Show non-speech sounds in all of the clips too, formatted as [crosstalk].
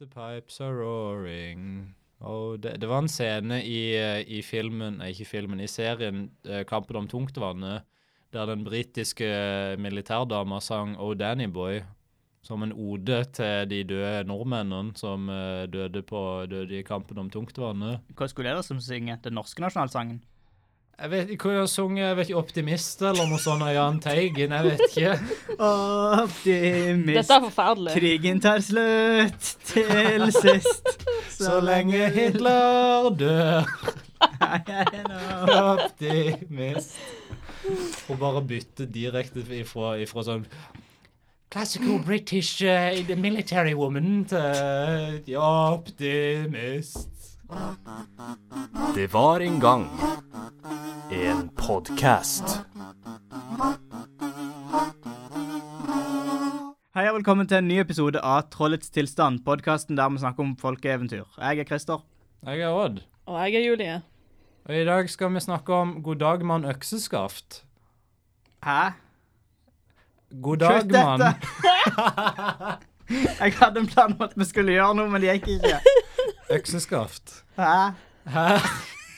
The pipes are roaring. Og det, det var en scene i, eh, i filmen, nei, ikke filmen, i serien eh, Kampen om tungtvannet, der den britiske militærdama sang Oh Danny Boy som en ode til de døde nordmennene som eh, døde, på, døde i kampen om tungtvannet. Hva skulle det være som synger den norske nasjonalsangen? Jeg vet ikke hva jeg har sunget, jeg vet ikke Optimist eller noe sånt av Jahn Teigen, jeg vet ikke. Optimist, Dette er forferdelig. krigen tar slutt til [laughs] sist. Så lenge Hitler dør, Optimist. Og bare bytte direkte ifra, ifra sånn Classical British eh, the military woman til eh, ja, Optimist. Det var en gang en podkast. Hei og velkommen til en ny episode av Trollets tilstand, podkasten der vi snakker om folkeeventyr. Jeg er Christer. Jeg er Odd. Og jeg er Julie. Og i dag skal vi snakke om God dag, mann økseskaft. Hæ? God dag, Kutt mann. dette! [laughs] Jeg hadde en plan om at vi skulle gjøre noe, men det gikk ikke. Økseskaft. Hæ? Hæ?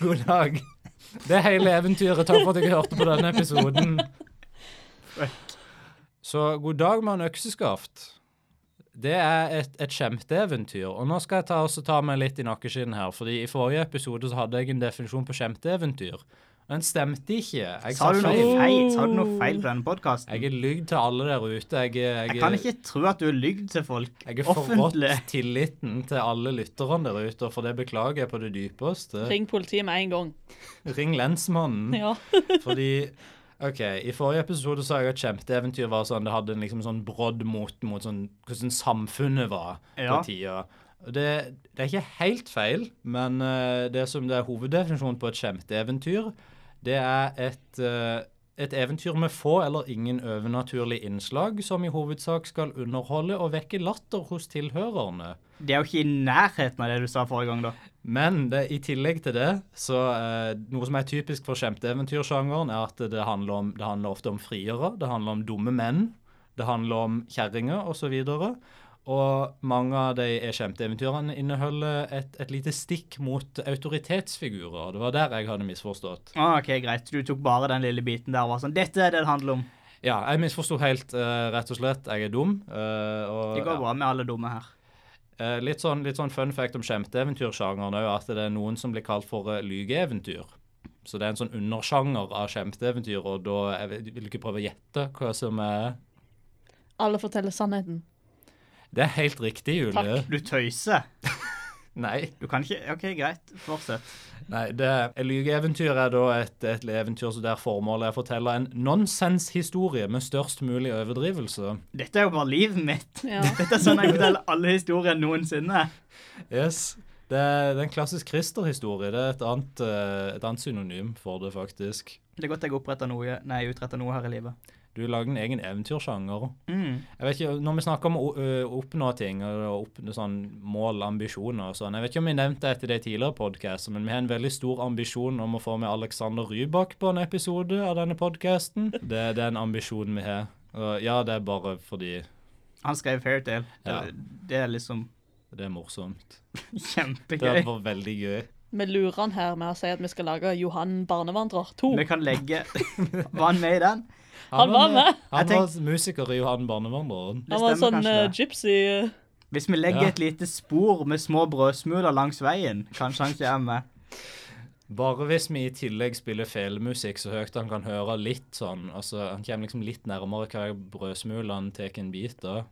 God dag. [laughs] Det er hele eventyret. Takk for at jeg hørte på denne episoden. Så god dag med en økseskaft. Det er et, et skjemteeventyr. Og nå skal jeg ta, også ta meg litt i nakkeskinnet her, fordi i forrige episode så hadde jeg en definisjon på skjemteeventyr. Men den stemte ikke. Jeg sa Sa du noe feil. feil? Sa du noe feil på denne podkasten? Jeg er lygd til alle der ute. Jeg, er- jeg, er- Jeg kan ikke tro at du har lygd til folk jeg er forrådt offentlig. tilliten til alle lytterne der ute, og for det beklager jeg på det dypeste. Ring politiet med en gang. Ring lensmannen. Ja. Fordi OK, i forrige episode sa jeg at kjempeeventyr var sånn Det hadde en liksom sånn brodd mot, mot sånn, hvordan samfunnet var Ja. på tida. Og Det, det er ikke helt feil, men eh, det som det er hoveddefinisjonen på et kjempeeventyr, det er et eh, et eventyr med få eller ingen overnaturlige innslag, som i hovedsak skal underholde og vekke latter hos tilhørerne. Det er jo ikke i nærheten av det du sa forrige gang, da. Men det, i tillegg til det, så eh, noe som er typisk for kjempeeventyrsjangeren, er at det handler, om, det handler ofte om friere, det handler om dumme menn, det handler om kjerringer osv. Og mange av de kjempeeventyrene inneholder et, et lite stikk mot autoritetsfigurer. Det var der jeg hadde misforstått. Ah, ok, greit. Du tok bare den lille biten der og var sånn Dette er det det handler om. Ja, jeg misforsto helt, eh, rett og slett. Jeg er dum. eh, og, Det går ja. bra med alle dumme her. Eh, litt, sånn, litt sånn fun fact om kjempeeventyrsjangeren er jo at det er noen som blir kalt for eh, lygeeventyr. Så det er en sånn undersjanger av kjempeeventyr, og da jeg vet- vil du ikke prøve å gjette hva som er Alle forteller sannheten. Det er helt riktig, Julie. Takk. Du tøyser. Nei. Du kan ikke OK, greit. Fortsett. Nei det, er- lygeeventyr er da et, et eventyr så der formålet er å fortelle en nonsenshistorie med størst mulig overdrivelse. Dette er jo bare livet mitt. Ja. Dette er sånn jeg forteller alle historier noensinne. Yes. Det, er- det er en klassisk kristerhistorie. Det er et annet, eh, et annet synonym for det, faktisk. Det er godt jeg oppretter noe Nei, utretter noe her i livet. Du lager en egen eventyrsjanger. Mm. Jeg vet ikke, Når vi snakker om å ø, oppnå ting og oppnå sånn mål, ambisjoner og sånn Jeg vet ikke om vi nevnte dette i de tidligere podkastene, men vi har en veldig stor ambisjon om å få med Alexander Rybak på en episode av denne [laughs] podkasten. Det, det er en ambisjon vi har. Og ja, det er bare fordi Han skrev Fairytale. Ja. Det, det er liksom det er morsomt. Det kjempegøy. hadde vært veldig gøy. [laughs] Vi lurer han her med å si at vi skal lage Johan barnevandrer 2. Vi kan legge Var han med i den? Han var med. Han Jeg var musiker i Johan Barnevandreren. Det Han var en stemmer sånn eh, kanskje det. gypsy eh, Hvis vi legger Ja. et lite spor med små brødsmuler langs veien, kanskje han kommer. Bare hvis vi i tillegg spiller felmusikk så høyt han kan høre litt sånn. altså Han kommer liksom litt nærmere hver brødsmule han tar en bit av.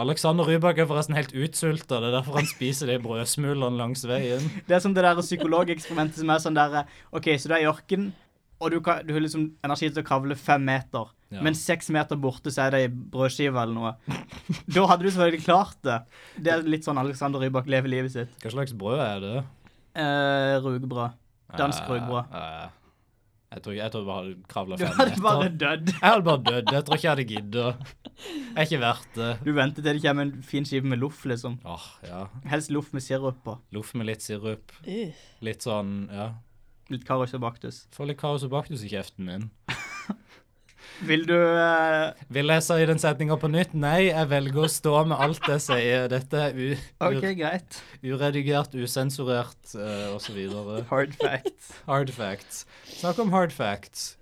Alexander Rybak er forresten helt utsulta. Det er derfor han spiser de brødsmulene langs veien. Det er som det der psykologeksperimentet som er sånn der OK, så du er i ørkenen, og du, kan, du har liksom energi til å kravle fem meter. Ja. Men seks meter borte så er det ei brødskive eller noe. Da hadde du selvfølgelig klart det. Det er litt sånn Alexander Rybak lever livet sitt. Hva slags brød er det? Eh, rugbrød. Dansk rugbrød. Eh, eh, Jeg tror, jeg tror jeg bare hadde kravla Du fem hadde meter. bare dødd. Jeg hadde bare dødd. Jeg tror ikke jeg hadde giddet. Jeg er ikke verdt det. Du venter til det kommer en fin skive med loff, liksom. Åh, ja. Helst loff med sirup på. Loff med litt sirup. eh, Litt sånn, ja. Litt karos og baktus. Få litt kaos og baktus i kjeften min. Vil du eh, Vil jeg si den setninga på nytt? Nei, jeg velger å stå med alt jeg sier. Dette er u OK, greit. ur uredigert, usensurert eh, og så videre. Hard fact. Hard facts. Snakk om hard facts.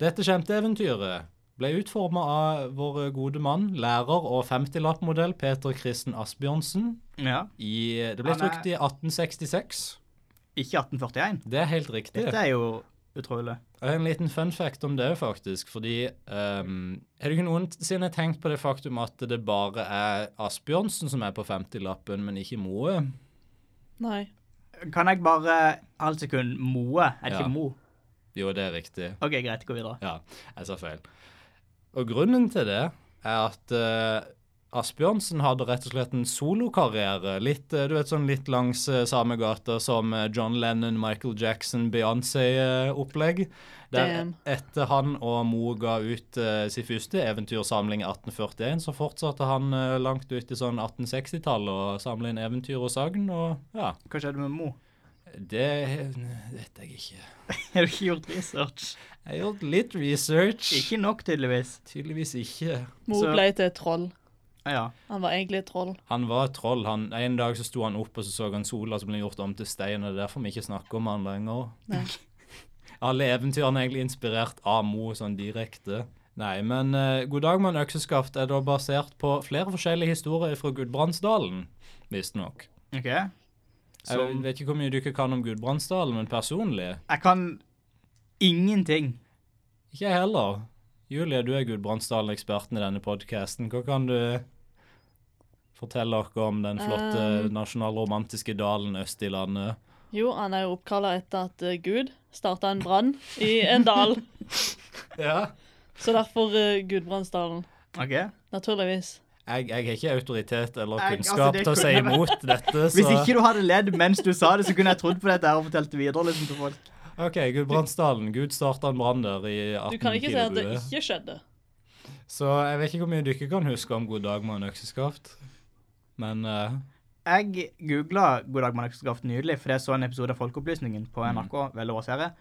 Dette kjempeeventyret ble utforma av vår gode mann, lærer og 50-lappmodell Peter Kristen Asbjørnsen. Ja. I, det ble Han er- trykt i 1866. Ikke 1841. Det er helt riktig. Dette er jo utrolig. Jeg har en liten fun fact om det, faktisk. Fordi ehm, Har du ikke noensinne tenkt på det faktum at det bare er Asbjørnsen som er på 50-lappen, men ikke Moe? Nei. Kan jeg bare halvt sekund Moe? Er det Ja. ikke Mo? Jo, det er riktig. OK, greit. Gå videre. Ja, jeg sa feil. Og grunnen til det er at eh, Asbjørnsen hadde rett og slett en solokarriere. Litt, eh, du vet, sånn litt langs eh, samme gata som eh, John Lennon, Michael Jackson, Beyoncé-opplegg. Der Damn. etter han og Moe ga ut eh, sin første eventyrsamling i 1841, så fortsatte han eh, langt ut i sånn 1860-tallet å samle inn eventyr og sagn. Og ja, Hva skjedde med Mo? det vet jeg ikke. [laughs] Har du ikke gjort research? Jeg har gjort litt research. Ikke nok, tydeligvis. Tydeligvis ikke. Mo Så- ble til et troll. Ah, Ja. Han var egentlig et troll. Han var et troll. Han, en dag så sto han opp og så så han sola som ble gjort om til stein. og Det er derfor vi ikke snakker om han lenger. Nei. [laughs] Alle eventyrene er egentlig inspirert av Mo sånn direkte. Nei, men eh, 'God dag, mann økseskaft' er da basert på flere forskjellige historier fra Gudbrandsdalen, visstnok. OK. Jeg Som vet ikke hvor mye du ikke kan om Gudbrandsdalen, men personlig Jeg kan ingenting. Ikke jeg heller. Julie, du er Gudbrandsdalen-eksperten i denne podkasten. Hva kan du fortelle oss om den flotte Um. nasjonalromantiske dalen øst i landet? Jo, han er jo oppkalla etter at eh, Gud starta en brann i en [laughs] dal. Ja. Så derfor eh, Gudbrandsdalen. OK? Naturligvis. Jeg, jeg har ikke autoritet eller Jeg- kunnskap altså, det til å si kunne- imot dette, så Hvis ikke du hadde ledd mens du sa det, så kunne jeg trodd på dette her og fortalt det videre liksom, til folk. OK, Gudbrandsdalen. Gud starta en brann der i Du kan ikke si at det 1820. ikke skjedde. Så jeg vet ikke hvor mye du ikke kan huske om God dag med en økseskaft. Men eh, Jeg googla 'God dag, mann økseskaft' nylig, for jeg så en episode av Folkeopplysningen på NRK. veldig bra serie,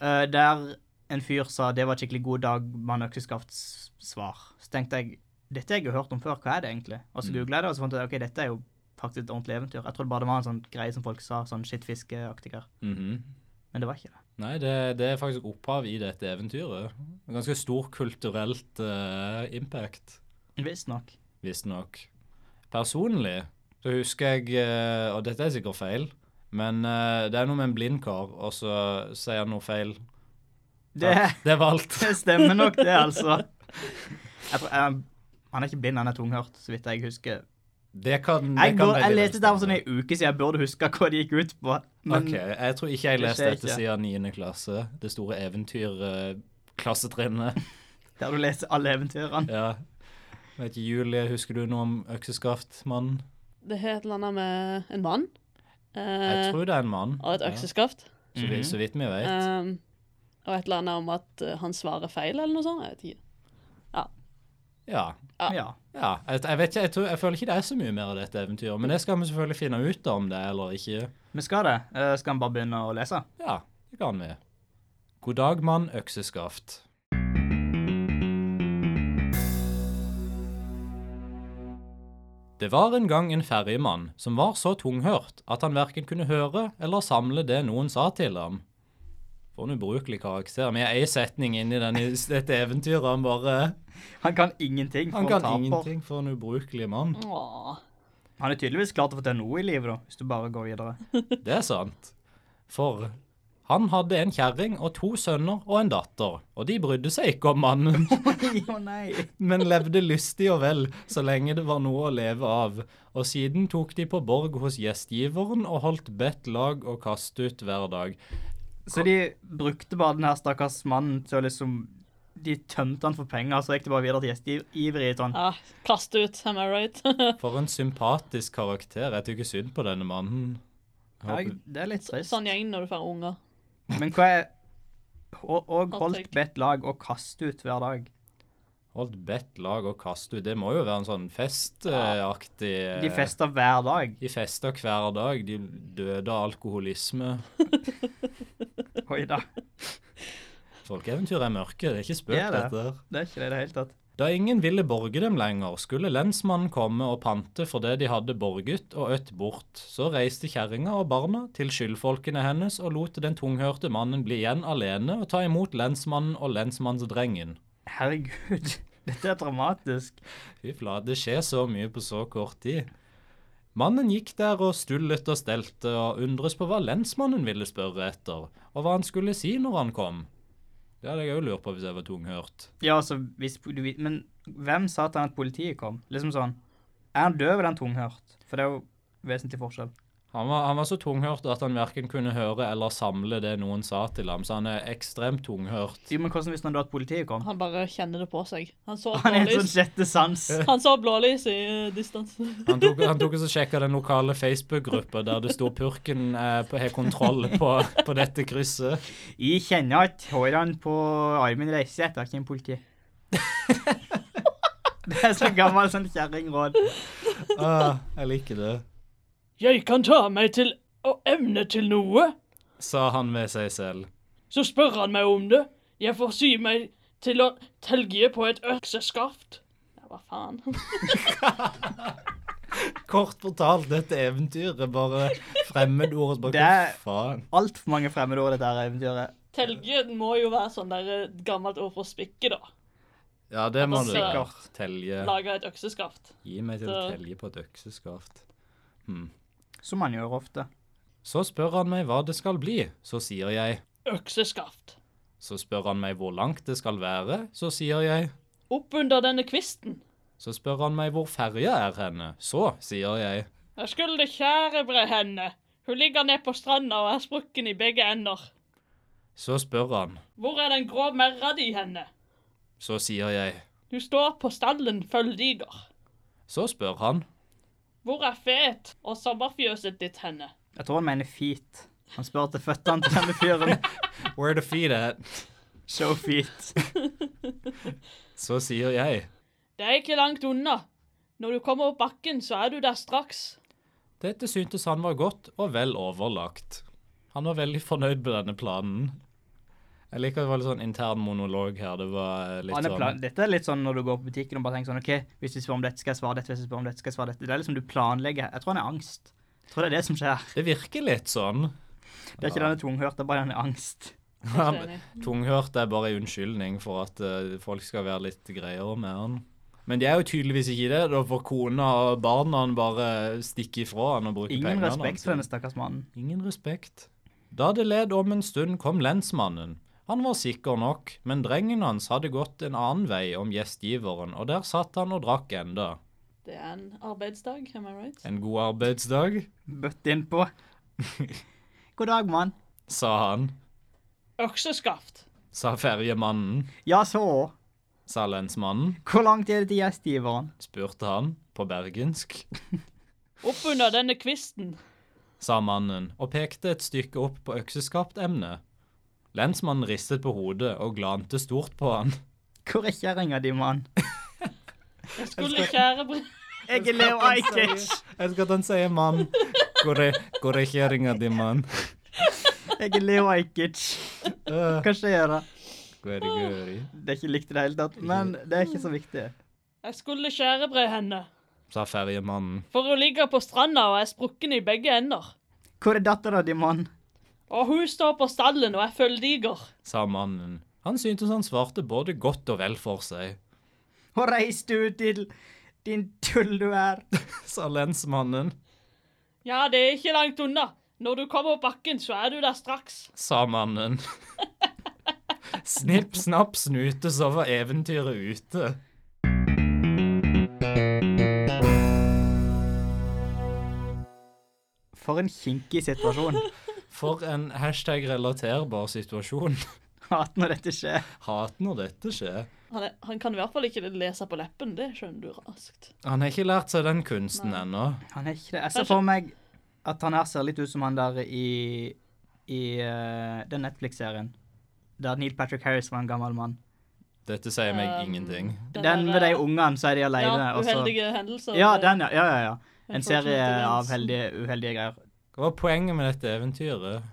eh, Der en fyr sa det var et skikkelig 'God dag, mann økseskafts svar. Så tenkte jeg dette har jeg jo hørt om før, hva er det egentlig? Og så Mm. googla jeg det, og så fant jeg ok, dette er jo faktisk et ordentlig eventyr. Jeg trodde bare det var en sånn greie som folk sa, sånn skittfiskeaktig her. mhm. Men det var ikke det. Nei, det, det er faktisk opphav i dette eventyret. En ganske stor kulturelt eh, impact, Visstnok. visstnok. Personlig så husker jeg eh, Og dette er sikkert feil, men eh, det er noe med en blind kar, og så sier han noe feil. Det, Det var alt. det [laughs] stemmer nok, det, altså. Jeg tror, eh, han er ikke blind, han er tunghørt, så vidt jeg husker. Det kan, Mm, det Jeg, kan går, veldig jeg vel leste det for sånn stemme. ei uke siden, jeg burde huske hva det gikk ut på. Mm, Men OK. Jeg tror ikke jeg Det leste skjer dette ikke. siden 9. klasse. Det store [laughs] eventyrklassetrinnet. der du leser alle eventyrene. ja. Vet ikke, Julie, husker du noe om økseskaftmannen? Det het et eller annet med en mann. Jeg Eh, tror det er en mann. og et økseskaft. Ja. Så, Mhm. vi, så vidt vi vet. Um, og et eller annet om at eh, han svarer feil, eller noe sånt. Jeg vet ikke. Ja. Ja. ja. Jeg, jeg vet ikke, jeg, tror, jeg føler ikke det er så mye mer av dette eventyret, men det skal vi selvfølgelig finne ut av om det er eller ikke. Vi skal det. Eh, skal han bare begynne å lese? Ja, det kan vi. God dag, mann økseskaft. Det var en gang en ferjemann som var så tunghørt at han verken kunne høre eller samle det noen sa til ham. For en ubrukelig karakter. Vi er ei setning inn i denne, dette eventyret. Han bare Han kan ingenting. Han for kan taper. ingenting for en ubrukelig mann. Åh. Han er tydeligvis klar til å få til noe i livet, da, hvis du bare [laughs] går videre. Det er sant. For han hadde en kjerring og to sønner og en datter, og de brydde seg ikke om mannen. Å nei. men levde lystig og vel så lenge det var noe å leve av, og siden tok de på borg hos gjestgiveren og holdt bedt lag og kast ut hver dag. Så de brukte bare den her stakkars mannen til å liksom De tømte han for penger, så gikk det bare videre til gjesteivrig. Sånn. Ja, kast ut, am I right? [laughs] For en sympatisk karakter. Jeg tykker synd på denne mannen. Ja, jeg- det er litt trist. sånn gjeng når du får unger. Men hva er Og, og Hot holdt take. bedt lag og kaste ut hver dag. Holdt bedt lag og kast ut. Det må jo være en sånn festaktig eh, De festa hver dag. De festa hver dag. De døde av alkoholisme. Oi da. Folkeeventyr er mørke, det er ikke spøk, Det er det. dette. her. Det er ikke det i det hele tatt. Da ingen ville borge dem lenger, skulle lensmannen komme og pante for det de hadde borget og øtt bort. Så reiste kjerringa og barna til skyldfolkene hennes og lot den tunghørte mannen bli igjen alene og ta imot lensmannen og lensmannsdrengen. Herregud, [laughs] dette er dramatisk. Fy flate, det skjer så mye på så kort tid. Mannen gikk der og stullet og stelte og undres på hva lensmannen ville spørre etter, og hva han skulle si når han kom. Det hadde jeg òg lurt på hvis jeg var tunghørt. Ja, altså, hvis du vet Men hvem sa til han at politiet kom? Liksom sånn Er han døv eller er han tunghørt? For det er jo vesentlig forskjell. Han var, han var så tunghørt at han verken kunne høre eller samle det noen sa til ham, så han er ekstremt tunghørt. Jo, men hvordan visste han da at politiet kom? Han bare kjenner det på seg. Han så [laughs] Han er en sånn blålys, sjette sans. han så blålys i eh, distanse. Han tok, han tok og så sjekka den lokale Facebook-gruppa der det sto 'Purken eh, på- har kontroll på, på dette krysset'. Jeg kjenner at hårene på armen reiser etter ikke en politi. [laughs] det er så gammel sånn kjerringråd. Ah, jeg liker det, [laughs] Jeg kan ta meg til og evne til noe. sa han ved seg selv. Så spør han meg om det. Jeg får sy meg til å telge på et økseskaft. Ja, hva faen? [laughs] Kort fortalt, dette eventyret bare fremmedordet bare Det- Hva faen? Altfor mange fremmedord i dette her eventyret. Telge må jo være sånn der eh, gammelt ord for å spikke, da. Ja, det må du Altså- gjøre. Telje. Lage et økseskaft. Gi meg til å Så- telje på et økseskaft. Som man gjør ofte. Så spør han meg hva det skal bli. Så sier jeg. Økseskaft. Så spør han meg hvor langt det skal være. Så sier jeg. Oppunder denne kvisten. Så spør han meg hvor ferja er henne. Så sier jeg. Jeg skulle kjærebre henne. Hun ligger ned på stranda og er sprukken i begge ender. Så spør han. Hvor er den grå merra di henne? Så sier jeg. Du står på stallen fulldiger. Så spør han. Hvor er fet og sommerfjøset ditt henne? Jeg tror han mener feet. Han spør til føttene til denne fyren. Where the feet at? Show feet. Så sier jeg. Det er ikke langt unna. Når du kommer opp bakken, så er du der straks. Dette syntes han var godt og vel overlagt. Han var veldig fornøyd med denne planen. Jeg liker at det var litt sånn intern monolog her. Det var eh, litt Han er plan sånn dette er litt sånn når du går på butikken og bare tenker sånn OK, hvis du spør om dette, skal jeg svare dette. Hvis du spør om dette, skal jeg svare dette. Det er liksom du planlegger. Jeg tror han er angst. Jeg tror det er det som skjer. Det virker litt sånn. Det er ikke denne tunghørte, bare han er angst. Jeg er enig. Tunghørt er bare en unnskyldning for at eh, folk skal være litt greiere med han. Men de er jo tydeligvis ikke det, da får kona og barna han bare stikke ifra han og bruke Ingen pengene respekt for hans. denne stakkars mannen. Ingen respekt. Da det led om en stund, kom lensmannen. Han var sikker nok, men drengen hans hadde gått en annen vei om gjestgiveren, og der satt han og drakk enda. Det er en arbeidsdag, am I right? En god arbeidsdag, Bøtt innpå. [laughs] God dag, mann. sa han, Økseskaft. sa ferjemannen, Ja, så. sa lensmannen, Hvor langt er det til gjestgiveren? spurte han på bergensk, Oppunder denne kvisten. sa mannen, og pekte et stykke opp på økseskaptemnet. Lensmannen ristet på hodet og glante stort på han. Hvor er kjerringa di, mann? Jeg skulle kjærebre Jeg er Leo Ajkic. [laughs] Jeg skal at han sier mann. Hvor er, hvor er kjæringa di, [laughs] mann? Jeg er Leo Ajkic. Øh, Hva skjer da? Hvor er det gøy? Det er ikke likt i det hele tatt, men det er ikke så viktig. Jeg skulle kjærebre henne. sa ferjemannen. For hun ligger på stranda og er sprukken i begge ender. Hvor er dattera di, mann? Og hun står på stallen og er fulldiger. sa mannen. Han syntes han svarte både godt og vel for seg, Og reis du til din tull du er. sa lensmannen, Ja, det er ikke langt unna. Når du kommer opp bakken, så er du der straks. sa mannen. [laughs] Snipp, snapp, snute, så var eventyret ute. For en kinkig [laughs] situasjon. For en hashtag-relaterbar situasjon. Hater når dette skjer. Hat når dette skjer. Han, er, han kan i hvert fall ikke lese på leppen, det skjønner du raskt. Han har ikke lært seg den kunsten ennå. Han er ikke det. Jeg ser for meg at han her ser litt ut som han der i, i eh, den Netflix-serien. Der Neil Patrick Harris var en gammel mann. Dette sier meg Um, ingenting. Den eh, med de der, eh, ungene, så er de alene. Ja, og så- uheldige hendelser. Ja, den, ja. ja, ja, ja. En Unfortunate serie events. av heldige, uheldige greier. Hva var poenget med dette eventyret?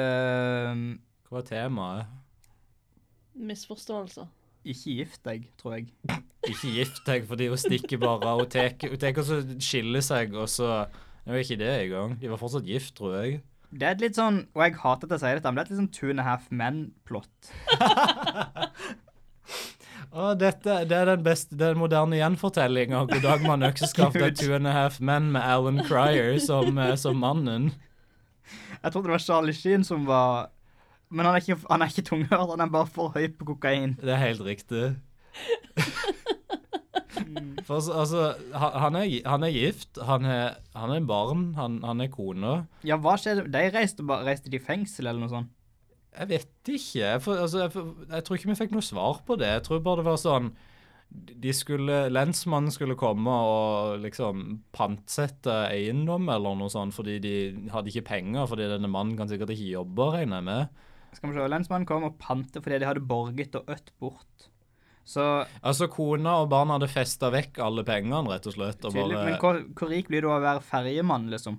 Ehm, Hva var temaet? misforståelser. Ikke gift deg, tror jeg. Ikke gift deg, fordi hun stikker bare. Hun tar hun tar og så skiller seg, og så Nå er ikke det i gang. De var fortsatt gift, tror jeg. Det er et litt sånn, og jeg hater at jeg sier dette, men det er et litt sånn two and a half men-plott. Å, dette, det er den beste, den moderne gjenfortellinga. God dag, mann [laughs] økseskaft er two and a half men med Alan Cryer som, eh, som mannen. Jeg trodde det var Charlie Sheen som var Men han er ikke, han er ikke tunghørt, han er bare for høy på kokain. Det er helt riktig. Mm. For altså, altså han, han er, gi- han er gift, han er, han er barn, han, han er kone. Ja, hva skjedde? De reiste, bare- reiste de i fengsel eller noe sånt? Jeg vet ikke. Jeg, får- altså, jeg, får- jeg tror ikke vi fikk noe svar på det. Jeg tror bare det var sånn de skulle, Lensmannen skulle komme og liksom pantsette eiendom eller noe sånt, fordi de hadde ikke penger, fordi denne mannen kan sikkert ikke jobbe, regner jeg med. Skal vi se, Lensmannen kom og pante fordi de hadde borget og ødt bort. Så Altså, kona og barna hadde festa vekk alle pengene, rett og slett. Og tydelig, men bare, hvor, hvor rik blir du av å være ferjemann, liksom?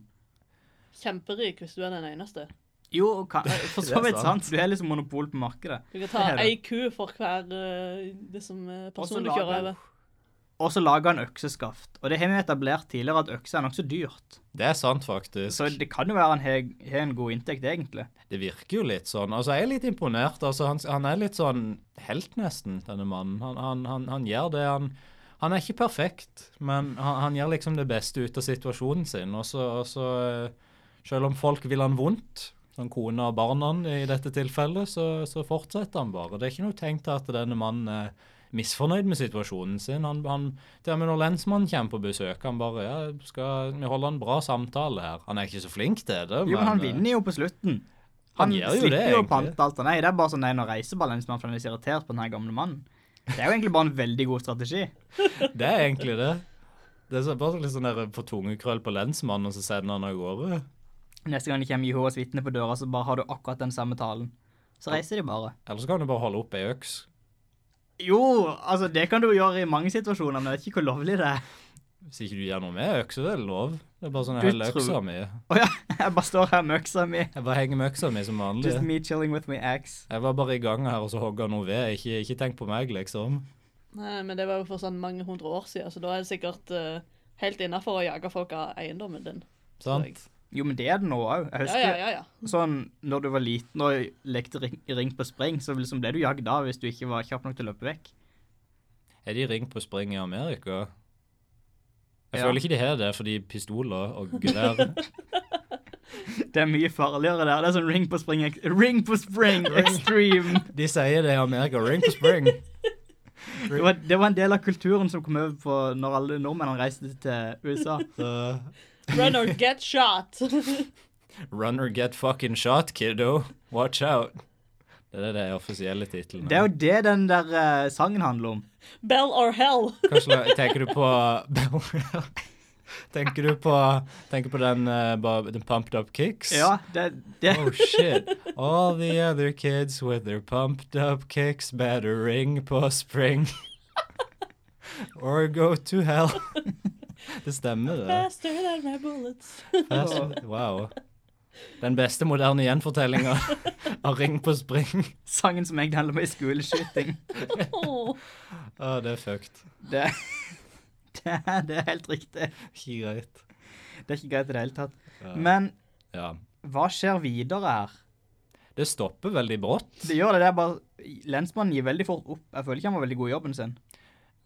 Kjemperik hvis du er den eneste. Jo, [laughs] ka- eh, for Det så er vidt sant. sant. Du har liksom monopol på markedet. Du kan ta Det er det. ei ku for hver eh, liksom, eh, person så du kjører lager- over. Og så lager han økseskaft. Og det har vi etablert tidligere at økse er nokså dyrt. det er sant, faktisk. Så det kan jo være han har har en god inntekt, egentlig. Det virker jo litt sånn. Altså, jeg er litt imponert. Altså, han, han er litt sånn helt, nesten, denne mannen. Han, han, han, han gjør det han Han er ikke perfekt, men han, han gjør liksom det beste ut av situasjonen sin. Og så, og så eh, Selv om folk vil han vondt, som kona og barna i dette tilfellet, så, så fortsetter han bare. Det er ikke noe tegn til at denne mannen er misfornøyd med situasjonen sin. Han, han, til og med når lensmannen kommer på besøk, han bare ja, skal vi holde en bra samtale her. Han er ikke så flink til det, Jo, men han eh, vinner jo på slutten. Han Han, gjør jo slipper det, jo å egentlig. pante alt han er. Det er bare sånn nei, nå reiser balansemannen for han er så irritert på den her gamle mannen. Det er jo egentlig bare en veldig god strategi. Det er egentlig det. Det er så, bare litt sånn der på tungekrøll på lensmannen, og så sender han av gårde. Neste gang det kommer Jehovas vitne på døra, så bare har du akkurat den samme talen. Så reiser de bare. Eller så kan du bare holde opp ei øks. Jo, altså det kan du jo gjøre i mange situasjoner, men jeg vet ikke hvor lovlig det er. [laughs] Hvis ikke du gjør noe med øksa, det er lov. Det er bare sånn Du hele tror- øksa mi. Å ja, jeg bare står her med øksa mi. Jeg bare henger med øksa mi som vanlig. Just me chilling with my axe. Jeg var bare i gangen her, og så hogga noe ved. Ikke, ikke tenk på meg, liksom. Nei, men det var jo for sånn mange hundre år siden, så da er det sikkert eh, helt innafor å jage folk av eiendommen din. Sant? Jo, men det er det nå òg. Jeg Ja, husker ja, ja. [laughs] ja. sånn når du var liten og lekte ring, ring på spring, så liksom ble du jagd av hvis du ikke var kjapp nok til å løpe vekk. Er de ringt på spring i Amerika? Jeg Ja. føler ikke de har det, fordi pistoler og gevær [laughs] Det er mye farligere der. Det er sånn ring på spring, ek- ring på spring [laughs] extreme. De sier det i Amerika. Ring på [laughs] spring. Det var, det var en del av kulturen som kom over på når alle nordmennene reiste til USA. Så, Run or get shot! Run or get fucking shot, kiddo. Watch out. Det er det de offisielle titlene. Det er jo det den der eh, sangen handler om. Bell or hell! Hva slags- Tenker du på [laughs] Tenker du på Tenker på den, eh, ba- den Pumped Up Kicks? Ja, det, det Oh shit. All the other kids with their pumped up kicks better ring på spring. [laughs] Or go to hell. [laughs] Det stemmer, det. Faster than my bullets. Fast- Wow. Den beste moderne gjenfortellinga av Ring på spring. [laughs] sangen som egentlig handler om ei skoleskyting. Åh. Å, det er fucked. Det, [laughs] det, er- det er helt riktig. Ikke greit. Det er ikke greit i det hele tatt. Ja. Men Ja. hva skjer videre her? Det stopper veldig brått. Det gjør det, det er bare Lensmannen gir veldig fort opp. Jeg føler ikke han var veldig god i jobben sin.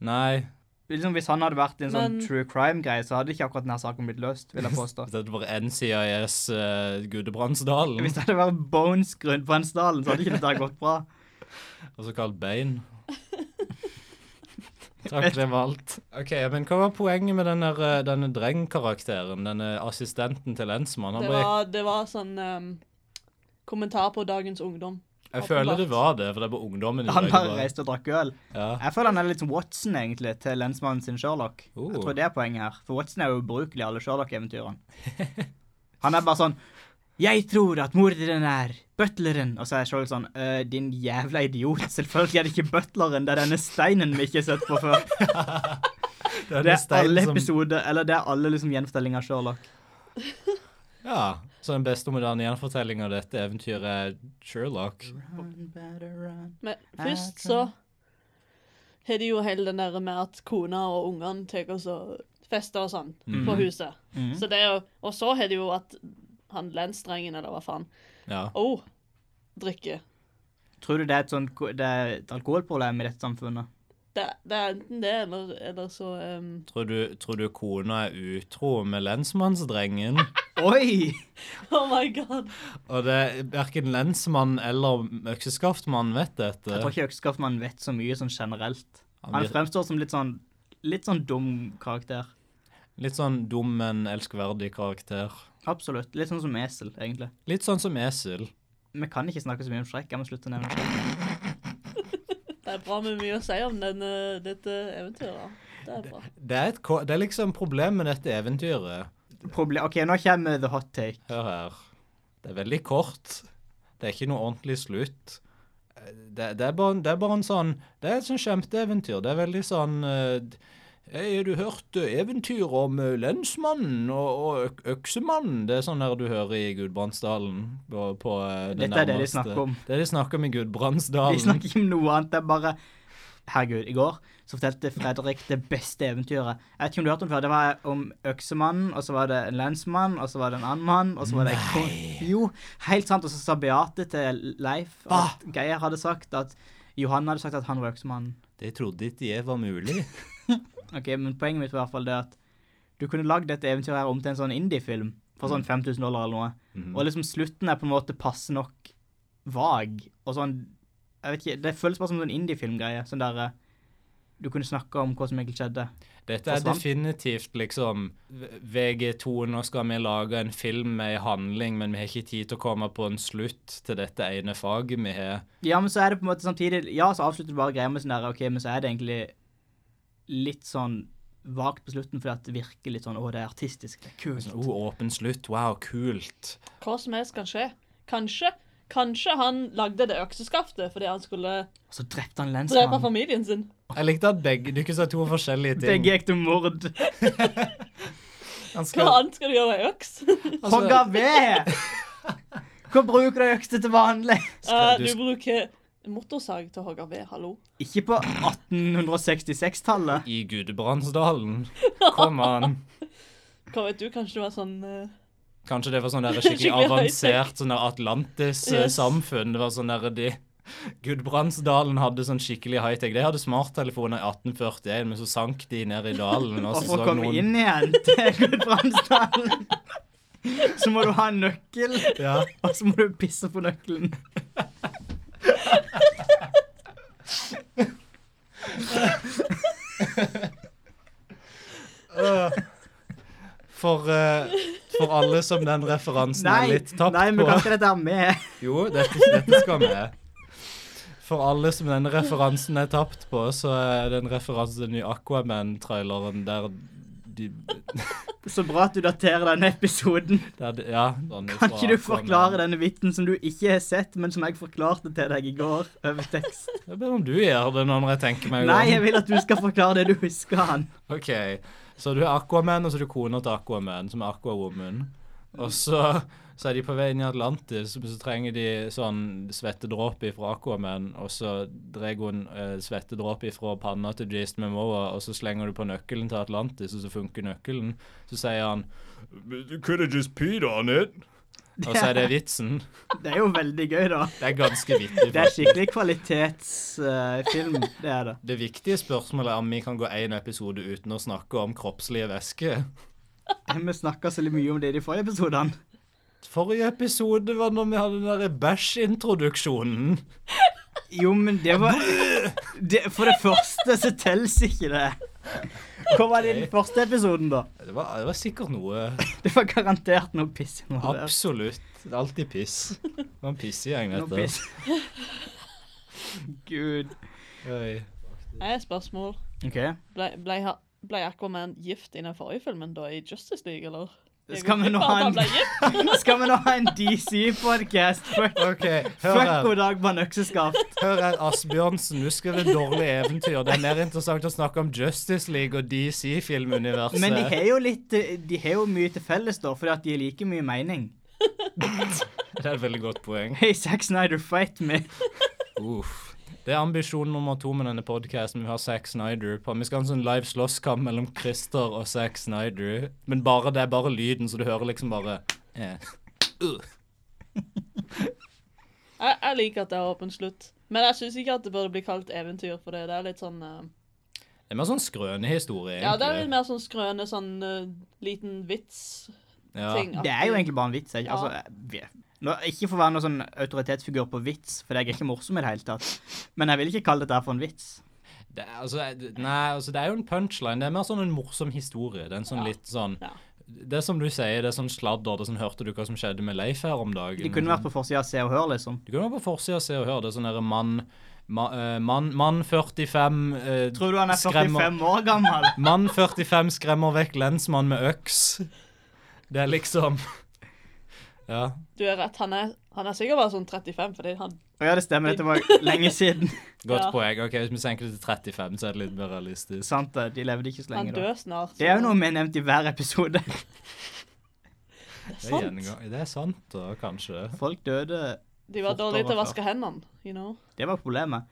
Nei, Liksom, hvis han hadde vært i en sånn Men- true crime-greie, så hadde ikke akkurat denne saken blitt løst, vil jeg påstå. det er bare NCIS uh, Gudebrandsdalen, Hvis det hadde vært bones grunn på Hansdalen, så hadde ikke dette gått [laughs] bra. også kalt [laughs] Bein. Takk, det var alt. Ok, Men hva var poenget med denne, eh, denne drengkarakteren? Denne assistenten til lensmannen? Det Han bare, var, det var sånn um, ehm, kommentar på dagens ungdom. jeg føler det var det, for det er bare ungdommen i Han Norge bare bare- reiste og drakk øl. Ja. Jeg føler han er litt som Watson, egentlig, til lensmannen sin Sherlock. Oh. Jeg tror det er poenget her, for Watson er jo ubrukelig i alle [laughs] Sherlock-eventyrene. Han er bare sånn Jeg tror at morderen er butleren. Og så er Sherlock sånn «Øh, Din jævla idiot. Selvfølgelig er det ikke butleren. Det er denne steinen vi ikke har sett på [laughs] før. Det er den Det er alle steinen som- episoder, eller det er alle liksom gjenfortellinger av Sherlock. Ja, Så den beste og moderne gjenfortellinga av dette eventyret er Sherlock. Run, better run. Men først så har de jo hele den der med at kona og ungene tar oss og fester og sånn på huset. Så det er jo, og så har de jo at han lensdrengen, eller hva faen, Ja. oh, drikker. Tror du det er et, sånt, ko- det er et alkoholproblem i dette samfunnet? Det, det er enten det, eller, eller så um, [laughs] Tror du, tror du kona er utro med lensmannsdrengen? Oi! Oh my god. Og det er verken lensmann eller økseskaftmann vet Jeg tror dette. ikke Økseskaftmann vet så mye sånn generelt. Han Han vir- fremstår som litt sånn, litt sånn dum karakter. Litt sånn dum, men elskverdig karakter. Absolutt. Litt sånn som esel, egentlig. Litt sånn som esel. Vi kan ikke snakke så mye om Shrek. Jeg må slutte å nevne Shrek. Det er bra med mye å si om denne, dette eventyret. Det er bra. Det er, et, ko- det er liksom problem med dette eventyret. Proble OK, nå kommer the hot take. Hør her. Det er veldig kort. Det er ikke noe ordentlig slutt. Eh, Det, det, er, bare, det er bare en sånn Det er et sånn kjempeeventyr. Det er veldig sånn eh, d- Hei, har du hørt eh, eventyr om eh, lensmannen og, og øk, øksemannen? Det er sånn der du hører i Gudbrandsdalen. På, på eh, det Dette er det de nærmeste. snakker om. Det er det de snakker om i Vi Gudbrandsdalen. snakker ikke om noe annet. Det er bare Herregud, i går så fortalte Fredrik det beste eventyret. Jeg vet ikke om du hørte om det før. Det var om Øksemannen, og så var det en lensmann, og så var det en annen mann, og så var det en kon- Jo, helt sant. Og så sa Beate til Leif at Geir hadde sagt at Johan hadde sagt at han var Øksemannen. Det trodde ikke jeg var mulig. [laughs] Ok, men poenget mitt var i hvert fall det at du kunne lagd dette eventyret her om til en sånn indie-film for sånn 5000 dollar eller noe. Mhm. Og liksom slutten er på en måte passe nok vag, og sånn Jeg vet ikke, det føles bare som en sånn indie-film-greie. Sånn der eh, Du kunne snakke om hva som egentlig skjedde. Dette er Forsvant. definitivt liksom V- VG2, nå skal vi lage en film med en handling, men vi har ikke tid til å komme på en slutt til dette ene faget vi har. Ja, men så er det på en måte samtidig Ja, så avslutter du bare greia med sånn der OK, men så er det egentlig litt sånn vagt på slutten, fordi at det virker litt sånn Å, det er artistisk. Det er kult. Sånn, oh, åpen slutt, wow, kult. Hva som helst kan skje. Kanskje, kanskje han lagde det økseskaftet fordi han skulle Og så drepte han drepe lensmannen. familien sin. Jeg likte at begge, du ikke sa to forskjellige ting. Begge gikk til mord. Han Hva skal, annet skal du gjøre med øks? altså, Hogga ved! Hva bruker du økse til vanlig? Skal [laughs] Eh, du- du bruker motorsag til å hogge ved, hallo. Ikke på 1866-tallet. I Gudbrandsdalen. Kom an. Hva vet du, kanskje det var sånn eh, Kanskje det var sånn der [laughs] skikkelig Skikkelig avansert sånn Yes. Atlantis-samfunn. Det var sånn der de Gudbrandsdalen hadde sånn skikkelig high-tech. De hadde smarttelefoner i 1841, men så sank de ned i dalen. Og Og så for å så komme noen inn igjen til Gudbrandsdalen, så må du ha en nøkkel, Ja. og så må du pisse på nøkkelen. For, eh, for alle som den referansen Nei, er litt tapt nei, vi på. kan ikke dette her med. Jo, dette, dette skal med. For alle som denne referansen er tapt på, så er det en referanse til den nye Aquaman-traileren der de, Så bra at du daterer denne episoden. der de Ja. sånn Kan Kan ikke du forklare denne vitsen som du ikke har sett, men som jeg forklarte til deg i går over tekst? Jeg ber om du gjør det når jeg tenker meg om. Nei, jeg vil at du skal forklare det du husker han. OK. Så du er Aquaman, og så er du kona til Aquaman, som er Aquawoman. Og så, så er de på vei inn i Atlantis, men så trenger de sånn svettedråpe fra Aquaman, og så drar hun eh, svettedråpe fra panna til Jason Momoa, og så slenger du på nøkkelen til Atlantis, og så funker nøkkelen. Så sier han "But you Could have just peed on it. Og så er [laughs] det vitsen. Det er jo veldig gøy, da. Det er ganske vittig. Det er skikkelig kvalitetsfilm, det er det. Det viktige spørsmålet er om vi kan gå én episode uten å snakke om kroppslige væsker. Vi snakka så mye om det i de forrige episodene. Forrige episode var når vi hadde den der bæsj-introduksjonen. Jo, men det var det, For det første så telles ikke det. Hva var det i den første episoden, da? Det var, det var sikkert noe Det var garantert noe piss involvert. absolutt. Det er alltid piss. Det var en pissegjeng, Noe dette. piss. Gud. Oi. Jeg har et spørsmål. OK. Ble, ble, ha- ble Aquaman gift i den forrige filmen, da, i Justice League, eller? Skal vi nå ha en, skal vi nå ha en DC-podcast? Fuck, OK, hør fuck her. god dag, bare økseskaft. Hør her, Asbjørnsen. Du skriver dårlige eventyr. Det er mer interessant å snakke om Justice League og DC-filmuniverset. Men de har jo litt eh, De har jo mye til felles, da, fordi at de har like mye mening. Det er et veldig godt poeng. Hey, Zack Snyder, fight me. Uff. Det er ambisjon nummer to med denne podkasten. Vi har Zack Snyder på. Vi skal ha en sånn live slåsskamp mellom Christer og Zack Snyder. Men bare, det er bare lyden, så du hører liksom bare eh. uh. Jeg, jeg liker at det har åpen slutt. Men jeg syns ikke at det burde bli kalt eventyr, for det, det er litt sånn eh, Det er mer sånn skrønehistorie, Ja, det er litt egentlig. mer sånn skrøne, sånn eh, liten vits-ting. Det er jo egentlig bare en vits. Ikke? Ja. Altså, jeg- nå, ikke for å være noen sånn autoritetsfigur på vits, for jeg er ikke morsom i det hele tatt. Men jeg vil ikke kalle dette her for en vits. Det er, altså, det- nei, altså, det er jo en punchline. Det er mer sånn en morsom historie. Det er en sånn Ja. litt sånn Ja. Det er som du sier, det er sånn sladder. Det er sånn, Hørte du hva som skjedde med Leif her om dagen? De kunne vært på forsida av Se og Hør, liksom. Du kunne vært på forsida og se og høre. Det er sånn derre mann ma, eh, Mann mann 45 eh, Tror du han er skremmer- 45 år gammel? Mann 45 skremmer vekk lensmann med øks. Det er liksom Ja. Du er rett, han er, han er sikkert bare sånn 35, fordi han Å ja, det stemmer. Dette var lenge siden. [laughs] Godt Ja. poeng. Ok, Hvis vi senker det til 35, så er det litt mer realistisk. Sant det. De levde ikke så Han lenge da. dør snart. Det er jo så- noe vi har nevnt i hver episode. [laughs] Det er, Sant. gjennomgang- det er sant, da, kanskje. Folk døde. De var Fortere dårlige til å før. vaske hendene, you know. Det var problemet.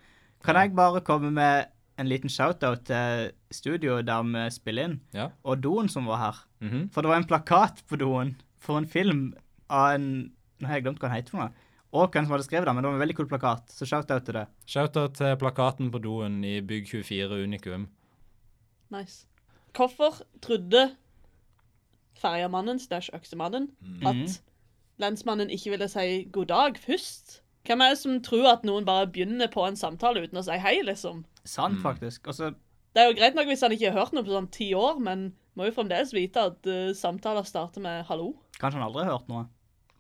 Kan jeg bare komme med en liten shout-out til studioet der vi spiller inn, Ja. og doen som var her? Mhm. For det var en plakat på doen for en film av en Nå har jeg glemt hva den heter for noe. Og hvem som hadde skrevet den, men det var en veldig kul plakat. Så shout-out til det. Shout-out til plakaten på doen i Bygg 24 Unikum. Nice. Hvorfor trodde ferjemannen slash øksemannen Mm. Mhm. at lensmannen ikke ville si god dag først? Hvem er det som tror at noen bare begynner på en samtale uten å si hei, liksom? Sant, faktisk. Og så Det er jo greit nok hvis han ikke har hørt noe på sånn ti år, men må jo fremdeles vite at eh, samtaler starter med hallo. kanskje han aldri har hørt noe.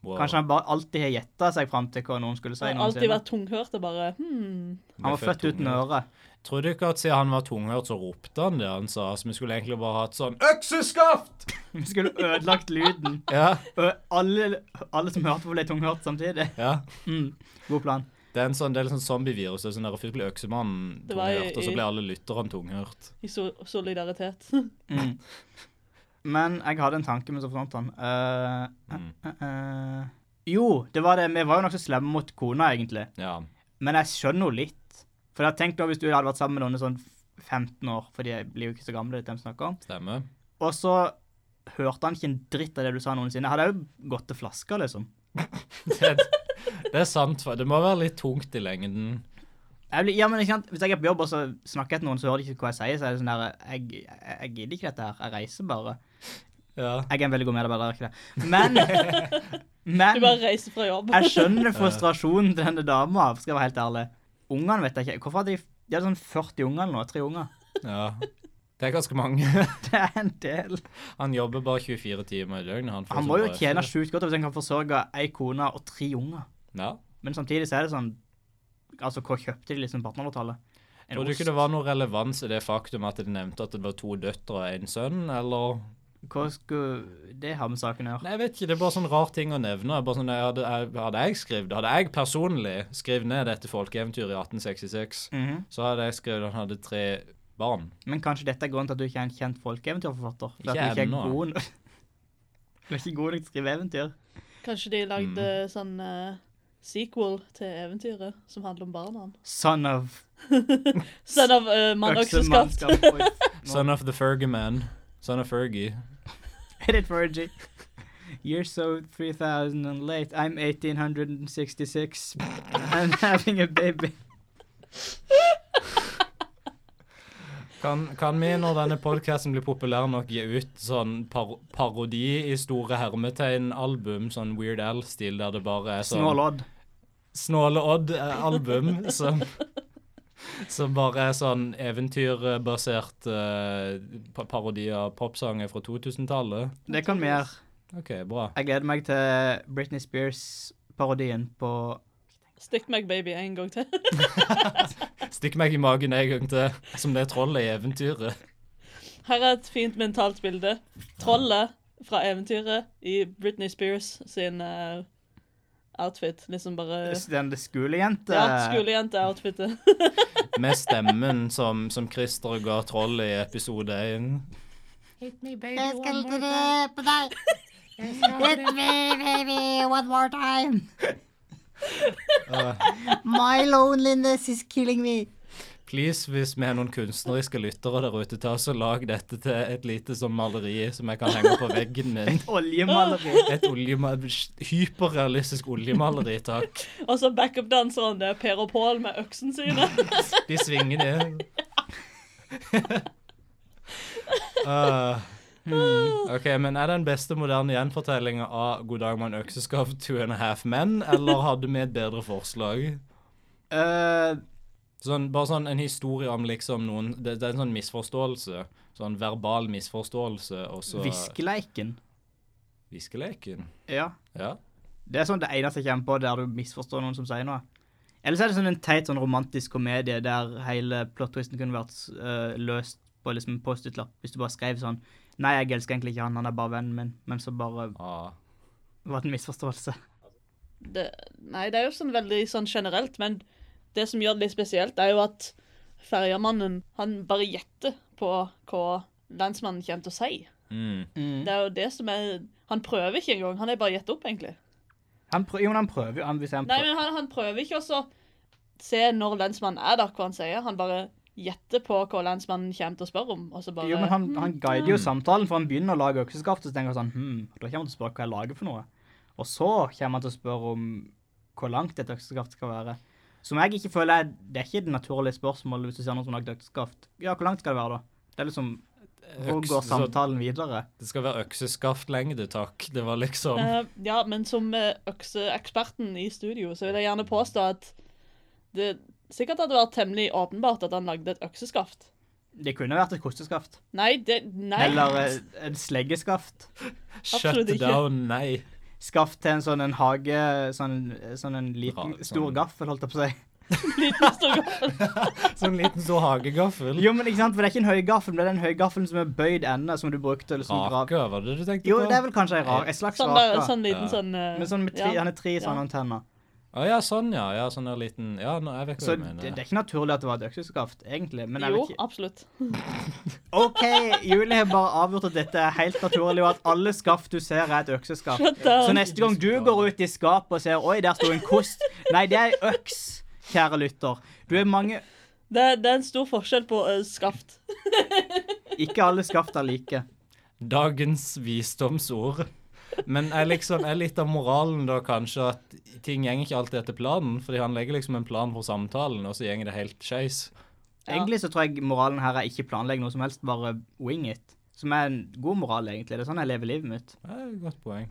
Wow. Kanskje han bare alltid har gjetta seg fram til hva noen skulle si. Han har alltid noensinne. vært tunghørt og bare hmm. Han var født uten tunghørt. øre. [laughs] Tror du ikke at siden han var tunghørt, så ropte han det han sa? Så vi skulle egentlig bare hatt sånn Økseskaft! Vi skulle ødelagt lyden. [laughs] Ja, Og alle, alle som hørte på, ble tunghørt samtidig. ja. Mm. God plan. Det er en sånn, det er litt sånn zombievirus. Det er sånn der Først blir øksemannen Det var i- tunghørt, og så blir alle lytterne tunghørt. I so solidaritet. [laughs] Mm. Men jeg hadde en tanke, men så forsvant han. Eh, eh, eh. jo, det var det. Vi var jo nokså slemme mot kona, egentlig. Ja. Men jeg skjønner henne litt. For jeg tenkte hvis du hadde vært sammen med noen i sånn 15 år, for de blir jo ikke så gamle, de snakker om. Stemmer. Og så hørte han ikke en dritt av det du sa noensinne. Jeg hadde jo gått til flaska, liksom. Det, det er sant. for Det må være litt tungt i lengden. Jeg blir, ja, men ikke sant, Hvis jeg er på jobb og så snakker jeg til noen, så hører de ikke hva jeg sier. Så er det sånn der, jeg, jeg, jeg gidder ikke dette her. Jeg reiser bare. Ja. Jeg er en veldig god medarbeider, jeg er ikke det. [laughs] Men, Du men bare reiser fra jobb. jeg skjønner frustrasjonen til denne dama, skal jeg være helt ærlig. Ungene vet jeg ikke. Hvorfor hadde de De hadde sånn 40 unger eller noe. Tre unger. [laughs] ja. Det er ganske mange. Det er en del. Han jobber bare 24 timer i døgnet. Han, får Han så må jo bra tjene effekt. sjukt godt hvis han kan forsørge ei kone og tre unger. Ja. Men samtidig så er det sånn Altså, hva kjøpte de liksom på 1800-tallet? En Tror du ikke ost? det var noe relevans i det faktum at de nevnte at det var to døtre og en sønn, eller Hva skulle det ha med saken å gjøre? Nei, jeg vet ikke. Det er bare sånn rar ting å nevne. Bare sånn, jeg hadde, jeg, hadde jeg skrevet det, hadde jeg personlig skrevet ned dette folkeeventyret i 1866, Mhm. så hadde jeg skrevet at han hadde tre barn. Men kanskje dette er grunnen til at du ikke er en kjent folkeeventyrforfatter? For Ikke at du ikke er ennå. god nok [laughs] Du er ikke god nok til å skrive eventyr. Kanskje de lagde sånn eh, sequel til eventyret som handler om barna. Son of Sånn av uh, mann økseskaft. øksemannskap. Oi, nå- Son of the Fergie-man. Son of Fergie. Edit Fergie. You're so 3000 and late. I'm 1866. [laughs] I'm having a baby. Kan, kan vi, når denne podcasten blir populær nok, gi ut sånn par parodi i store hermetegn-album, sånn Weird Al-stil, der det bare er sånn Snål Odd. Snåle Odd-album, eh, som, som bare er sånn eventyrbasert eh, pa- parodi av popsanger fra 2000-tallet? Det kan vi gjøre. OK, bra. Jeg gleder meg til Britney Spears-parodien på Stick meg baby en gang til. [laughs] Stikk meg i magen en gang til, som det trollet i eventyret. Her er et fint mentalt bilde. Trollet fra eventyret i Britney Spears sin eh, outfit. Liksom bare Den det skolejente Ja, skolejente-outfitet. [laughs] Med stemmen som, som Christer ga troll i episode 1. Hit me, baby, Jeg skal one more time. [laughs] drepe deg. Jeg skal Hit drepe- me, baby, one more time. My loneliness is killing me. Please, hvis vi har noen kunstneriske lyttere der ute, ta så lag dette til et lite sånn maleri som jeg kan henge på veggen min. [laughs] Oljemaleri. Et oljema- hyperrealistisk oljemaleri, takk. Og så backup-danseren. Det er Per og Pål med øksen sine. De svinger ned. Ah. hmm. OK, men er den beste moderne gjenfortellinga av 'God dag, mann, økseskaft', 'Two and a Half Men', eller hadde vi et bedre forslag? Eh, Sånn, bare sånn en historie om liksom noen Det, det er en sånn misforståelse. Sånn verbal misforståelse, og så Viskeleiken. Viskeleken. Ja. Ja. Det er sånn det eneste jeg kommer på der du misforstår noen som sier noe. Eller så er det sånn en teit sånn romantisk komedie der hele plot-twisten kunne vært eh, løst på liksom en Post-It-lapp hvis du bare skrev sånn Nei, jeg elsker egentlig ikke han, han er bare vennen min. Men så bare Ah. var det en misforståelse. det, nei, det er jo sånn veldig sånn generelt, men det som gjør det litt spesielt, er jo at ferjemannen, han bare gjetter på hva landsmannen kommer til å si. Mm. Det er jo det som er Han prøver ikke engang, han er bare gjett opp, egentlig. Han prøver, jo, men han prøver jo. Han, hvis han Nei, prøver. men han, han prøver ikke også å se når lensmannen er der, hva han sier. Han bare gjetter på hva lensmannen kommer til å spørre om, og så bare hmm, Jo, men han, han guider jo samtalen, for han begynner å lage økseskaft, og så tenker han sånn Hm, da kommer han til å spørre hva jeg lager for noe. Og så kommer han til å spørre om hvor langt et økseskaft skal være. Som jeg ikke føler er Det er ikke et naturlig spørsmål hvis du ser noen som har lagd økseskaft. Ja, hvor langt skal det være, da? Det er liksom Hvor Øks- går så- samtalen videre? Det skal være økseskaftlengde, takk. Det var liksom Eh, ja, men som eh, økseeksperten i studio, så vil jeg gjerne påstå at det sikkert hadde vært temmelig åpenbart at han lagde et økseskaft. Det kunne vært et kosteskaft. Nei, det Nei. [laughs] Eller eh, en sleggeskaft. Shut absolutt ikke. down, nei. Skaft til en sånn en hage Sånn, sånn en liten, Ra- sånn- stor gaffel, holdt jeg på å si. Liten stor gaffel. Sånn liten stor hagegaffel. Jo, men ikke sant, for det er ikke en høygaffel, men det er den høygaffelen som er bøyd ende, som du brukte. liksom Eller som grav... Rake, var det du tenkte sånn Jo, på? det er vel kanskje en, rar, en slags Sånn, der, rake. sånn liten Ja. sånn eh, Men sånn med tre, ja. han er tre sånne Ja. antenner. Å ja, sånn ja. ja sånn der liten Ja, nå, jeg vet hva Så du det, mener. det er ikke naturlig at det var et økseskaft, egentlig. Men jeg Jo, vet ikke. absolutt. OK, Julie har bare avgjort at dette er helt naturlig, og at alle skaft du ser, er et økseskaft. Shut down. Så neste gang du går ut i skapet og ser 'oi, der sto en kost', nei, det er ei øks, kjære lytter. Du er mange Det, det er en stor forskjell på eh, skaft. Ikke alle skaft er like. Dagens visdomsord. Men er liksom er litt av moralen da kanskje at ting gjenger ikke alltid etter planen, fordi han legger liksom en plan for samtalen, og så gjenger det helt skeis. Ja. Egentlig så tror jeg moralen her er ikke planlegg noe som helst, bare wing it. Som er en god moral, egentlig. Det er sånn jeg lever livet mitt. Det er et godt poeng.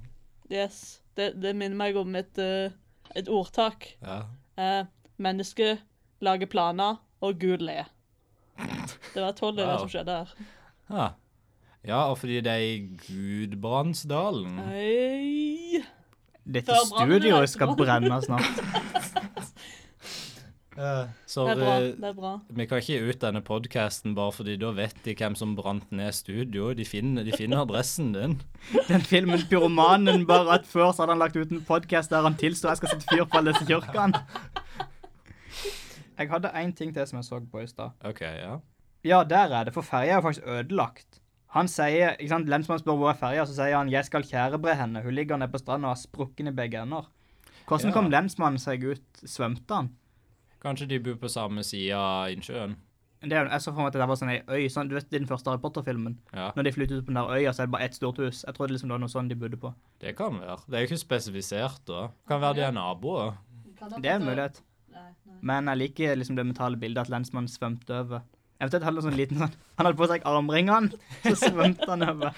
Yes. Det, det minner meg om et, eh, et ordtak. Ja. Uh, mennesket lager planer, og Gud ler. Det var tolv det Wow. som skjedde her. Ja. ja, og fordi det er i Gudbrandsdalen. Hei. Dette Før brannen studioet eller etter skal brannen? brenne snart. Så Det er bra. eh, det er bra. Vi kan ikke gi ut denne podkasten bare fordi da vet de hvem som brant ned studio. De finner, de finner adressen din. Den filmen Pyromanen bare at før så hadde han lagt ut en podkast der han tilsto jeg skal sette fyr på alle disse kirkene. Jeg hadde én ting til som jeg så på i stad. OK, ja. Ja, der er det, for ferja er jo faktisk ødelagt. Han sier, ikke sant, Lensmannen spør hvor er ferja, så sier han 'jeg skal kjærebre henne'. Hun ligger nede på stranda og har sprukket i begge ender. Hvordan Ja. kom lensmannen seg ut? Svømte han? Kanskje de bor på samme side av innsjøen. Det er, jo- jeg så for meg at det der var sånn ei øy, sånn, du vet i den første Harry Potter-filmen? Ja, Når de flyttet ut på den der øya, så er det bare ett stort hus. Jeg trodde liksom det var noe sånn de bodde på. det kan være. Det er jo ikke spesifisert, da. Kan være de er naboer. Det er en mulighet. Men jeg liker liksom det mentale bildet at lensmannen svømte over. Eventuelt hadde han sånn liten sånn Han hadde på seg armringene, så svømte han over.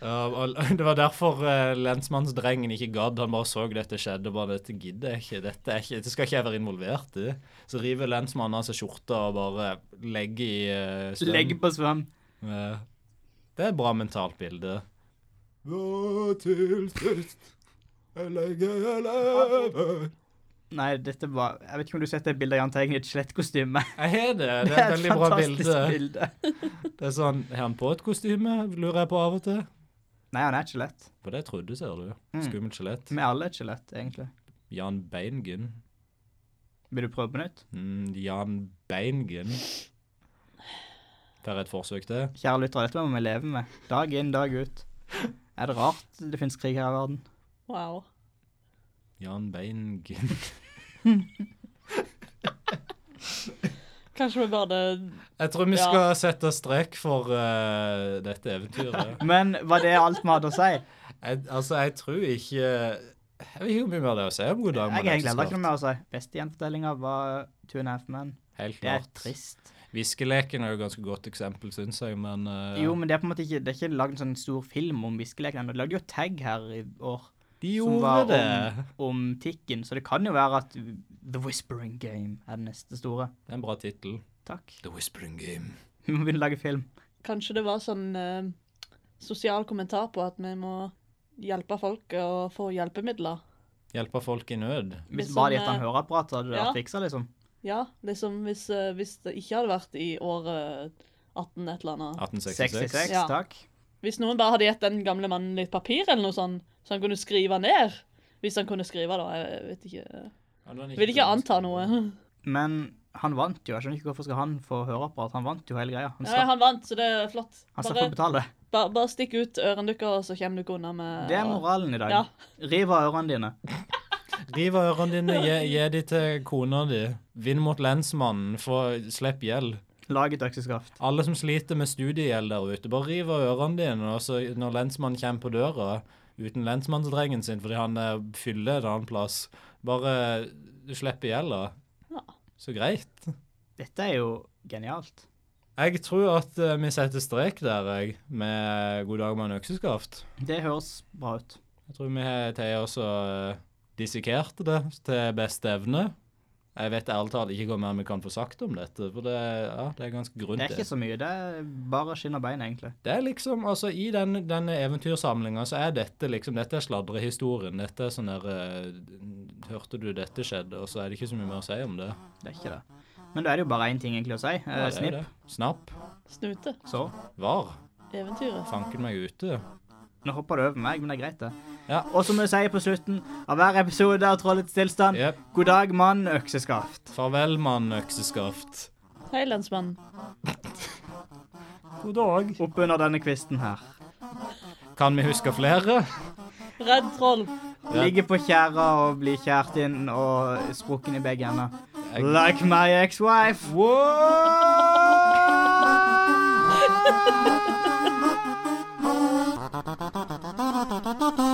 Ja, og [laughs] det var derfor eh, lensmannsdrengen ikke gadd. Han bare så dette skjedde og bare Dette gidder jeg ikke. Dette, er ikke, dette skal ikke jeg være involvert i. Så river lensmannen av seg skjorta og bare legger i eh, svøm. Legg på svøm. Eh, Det er et bra mentalt bilde. Hva til sist jeg legger jeg lever Nei, dette var Jeg vet ikke om du har sett det bildet av Jahn Teigen i et skjelettkostyme. Jeg har det. Det Det er et er [laughs] et veldig bra fantastisk bilde. bilde. Det er sånn, Har han på et kostyme, lurer jeg på av og til? Nei, han er et skjelett. For det trodde, ser du. Mm. Skummelt skjelett. Vi er alle et skjelett, egentlig. Jan Beingen. Vil du prøve på nytt? Mm, Jan Beingen. Får jeg et forsøk til? Kjære lyttere, dette må vi leve med. Dag inn, dag ut. Er det rart det finnes krig her i verden? Wow. Jan Beingen. Kanskje vi [laughs] burde Jeg tror vi Ja. skal sette strek for eh, dette [laughs] eventyret. Men var det alt vi hadde å si? Jeg, altså, jeg tror ikke Jeg vet ikke hvor mye mer det er å si om God dag, mann. Jeg har egentlig heller Økseskaft. ikke noe mer å si. Beste gjenfortellinga var Two and a Half Men. Helt Det er klart. trist. Viskeleken er jo et ganske godt eksempel, syns jeg, men eh, Jo, men det er på en måte ikke, det er ikke lagd en sånn stor film om viskeleken ennå. De lagde jo Tag her i år, de som gjorde var det. om, om Tikken, så det kan jo være at The Whispering Game er det neste store. Det er en bra tittel. Takk. The Whispering Game. Vi må begynne å lage film. Kanskje det var sånn eh, sosial kommentar på at vi må hjelpe folk eh, å få hjelpemidler. Hjelper folk i nød. Hvis Liksom, bare de etter en eh, høreapparat, så hadde det ja. vært fiksa, liksom. Ja, liksom hvis, eh, hvis det ikke hadde vært i året 18 et eller annet. 1866. 66, Ja. takk. Hvis noen bare hadde gitt den gamle mannen litt papir eller noe sånt, så han kunne skrive ned. Hvis han kunne skrive, da. Jeg vet ikke. Jeg vil ikke anta noe. Men han vant jo. Jeg skjønner ikke hvorfor skal han få høreapparat. Han vant jo hele greia. Han Nei, slapp, han vant, så det er flott. han slapp Bare, å betale. bare, bare stikk ut ørene deres, så kommer dere unna med Det er moralen i dag. Ja. Riv av ørene dine. Riv av ørene dine, gi, gi de til kona di. Vinn mot lensmannen, få, slipp gjeld. Lag et økseskaft. Alle som sliter med studiegjeld der ute, bare riv av ørene dine, og så når lensmannen kommer på døra uten lensmannsdrengen sin fordi han eh, fyller en annen plass, bare du slipper gjelda. Ja. Så greit. Dette er jo genialt. Jeg tror at eh, vi setter strek der, jeg, med God dag med en økseskaft. Det høres bra ut. Jeg tror vi har Thea også eh, dissekert det til beste evne. Jeg vet ærlig talt ikke hvor mer vi kan få sagt om dette, for det, ja, det er ganske Det grunt. er ikke så mye. Det er bare skinn og bein, egentlig. Det er liksom, altså I den, denne eventyrsamlinga så er dette liksom, dette er sladrehistorien. Dette er sånn der eh, Hørte du dette skjedde? Og så er det ikke så mye mer å si om det. Det er ikke det. Men da er det jo bare én ting egentlig å si. Eh, Ja, det er snipp, det. Snapp. Snute. så. Var. Eventyret. Fanken meg ute. Nå hopper du over meg, men det er greit, det. Ja. Og som vi sier på slutten av hver episode av Trollets tilstand, Jepp. god dag, mann, økseskaft. Farvel, mann økseskaft. Hei, lensmann. God dag. Oppunder denne kvisten her. Kan vi huske flere? Redd troll. Ja. Ligger på tjæra og blir kjært inn og sprukken i begge ender. Jeg- Like my ex-wife. Wow!